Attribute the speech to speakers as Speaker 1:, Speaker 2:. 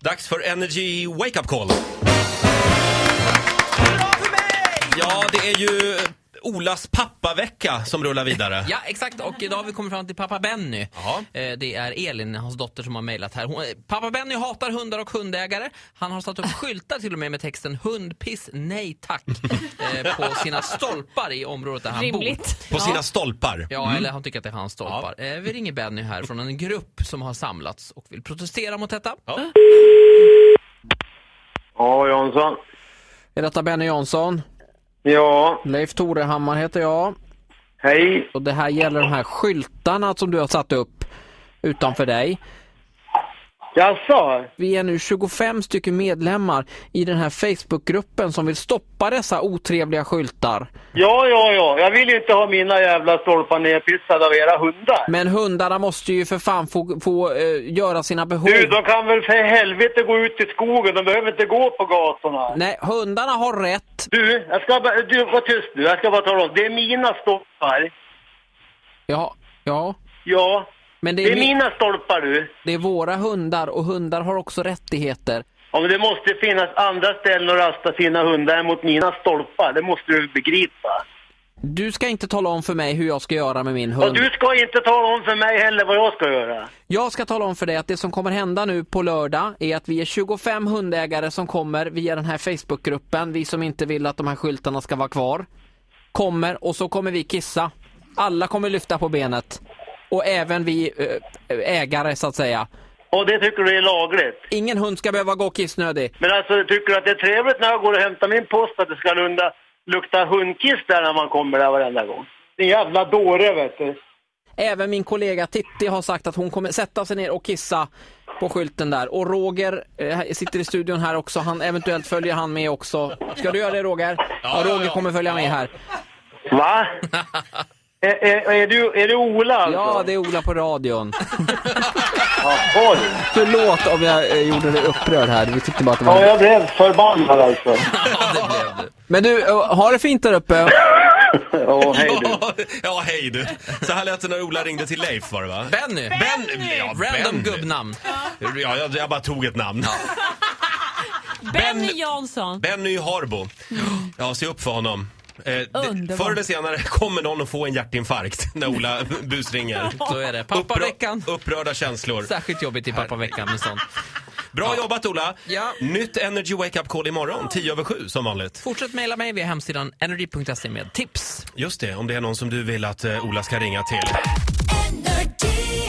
Speaker 1: Dags för Energy Wake Up Call.
Speaker 2: Bra för mig!
Speaker 1: Ja, det är ju Olas pappavecka som rullar vidare.
Speaker 2: Ja, exakt. Och idag har vi kommit fram till pappa Benny.
Speaker 1: Jaha.
Speaker 2: Eh, Det är Elin, hans dotter, som har mejlat här. Hon, eh, pappa Benny hatar hundar och hundägare. Han har satt upp skyltar till och med med texten “Hundpiss, nej tack” eh, på sina stolpar i området där han bor.
Speaker 3: Rimligt.
Speaker 1: På sina Mm. stolpar.
Speaker 2: Ja, eller han tycker att det är hans stolpar. Eh, Vi ringer Benny här från en grupp som har samlats och vill protestera mot detta.
Speaker 4: Ja, Jansson.
Speaker 5: Är detta Benny Jansson?
Speaker 4: Ja,
Speaker 5: Leif Torehammar heter jag.
Speaker 4: hej.
Speaker 5: Och det här gäller de här skyltarna som du har satt upp utanför dig.
Speaker 4: Jaså?
Speaker 5: Vi är nu 25 stycken medlemmar i den här Facebookgruppen som vill stoppa dessa otrevliga skyltar.
Speaker 4: Ja, ja, ja. Jag vill ju inte ha mina jävla stolpar nerpissade av era hundar.
Speaker 5: Men hundarna måste ju för fan få, få eh, göra sina behov.
Speaker 4: Du, de kan väl för helvete gå ut i skogen. De behöver inte gå på gatorna.
Speaker 5: Nej, hundarna har rätt.
Speaker 4: Du, jag ska bara... Du, var tyst nu. Jag ska bara tala om. Det är mina stolpar.
Speaker 5: Ja, ja.
Speaker 4: Ja.
Speaker 5: Men det
Speaker 4: Det
Speaker 5: är,
Speaker 4: är
Speaker 5: mi-
Speaker 4: mina stolpar, du.
Speaker 5: det är våra hundar och hundar har också rättigheter.
Speaker 4: Ja, men det måste finnas andra ställen att rasta sina hundar än mot mina stolpar. Det måste du begripa.
Speaker 5: Du ska inte tala om för mig hur jag ska göra med min
Speaker 4: Och
Speaker 5: hund.
Speaker 4: du ska inte tala om för mig heller vad jag ska göra.
Speaker 5: Jag ska tala om för dig att det som kommer hända nu på lördag är att vi är 25 hundägare som kommer via den här Facebookgruppen, vi som inte vill att de här skyltarna ska vara kvar, kommer och så kommer vi kissa. Alla kommer lyfta på benet. Och även vi eh, ägare så att säga.
Speaker 4: Och det tycker du är lagligt.
Speaker 5: Ingen hund ska behöva gå kissnödig.
Speaker 4: Men alltså, tycker du att det är trevligt när jag går och hämtar min post att det ska lunda, lukta hundkiss där när man kommer där varenda gång? Det är en jävla dåre, vet du.
Speaker 5: Även min kollega Titti har sagt att hon kommer sätta sig ner och kissa på skylten där. Och Roger eh, sitter i studion här också, han, eventuellt följer han med också. Ska du göra det Roger? Ja,
Speaker 1: ja,
Speaker 5: Roger
Speaker 1: ja.
Speaker 5: kommer följa med här.
Speaker 4: Va? är, är, är, du, är det Ola alltså?
Speaker 5: Ja, det är Ola på radion.
Speaker 4: Ja, oj.
Speaker 5: Förlåt om jag eh, gjorde dig upprörd här. Vi tyckte bara att det
Speaker 4: Ja,
Speaker 5: var...
Speaker 4: jag blev förbannad alltså.
Speaker 2: Ja, det blev det.
Speaker 5: Men du, eh, ha det fint där uppe.
Speaker 4: Ja, hej du.
Speaker 1: Ja, ja, hej du. Så här lät det när Ola ringde till Leif var det va?
Speaker 2: Benny!
Speaker 1: Benny! Ja,
Speaker 2: Random
Speaker 1: Benny.
Speaker 2: gubbnamn.
Speaker 1: Ja, jag, jag bara tog ett namn.
Speaker 3: Benny Jansson.
Speaker 1: Benny i Harbo. Ja, se upp för honom. Eh, det-
Speaker 3: Underbart.
Speaker 1: förr eller senare kommer någon att få en hjärtinfarkt när Ola busringer.
Speaker 2: Så är det. Pappaveckan.
Speaker 1: Upprö- upprörda känslor.
Speaker 2: Särskilt jobbigt i pappaveckan med sånt.
Speaker 1: Bra jobbat Ola!
Speaker 2: Ja.
Speaker 1: Nytt Energy Wake Up Call imorgon, 10 över 7 som vanligt.
Speaker 2: Fortsätt mejla mig via hemsidan energy.se med tips.
Speaker 1: Just det, om det är någon som du vill att eh, Ola ska ringa till.
Speaker 6: Energy.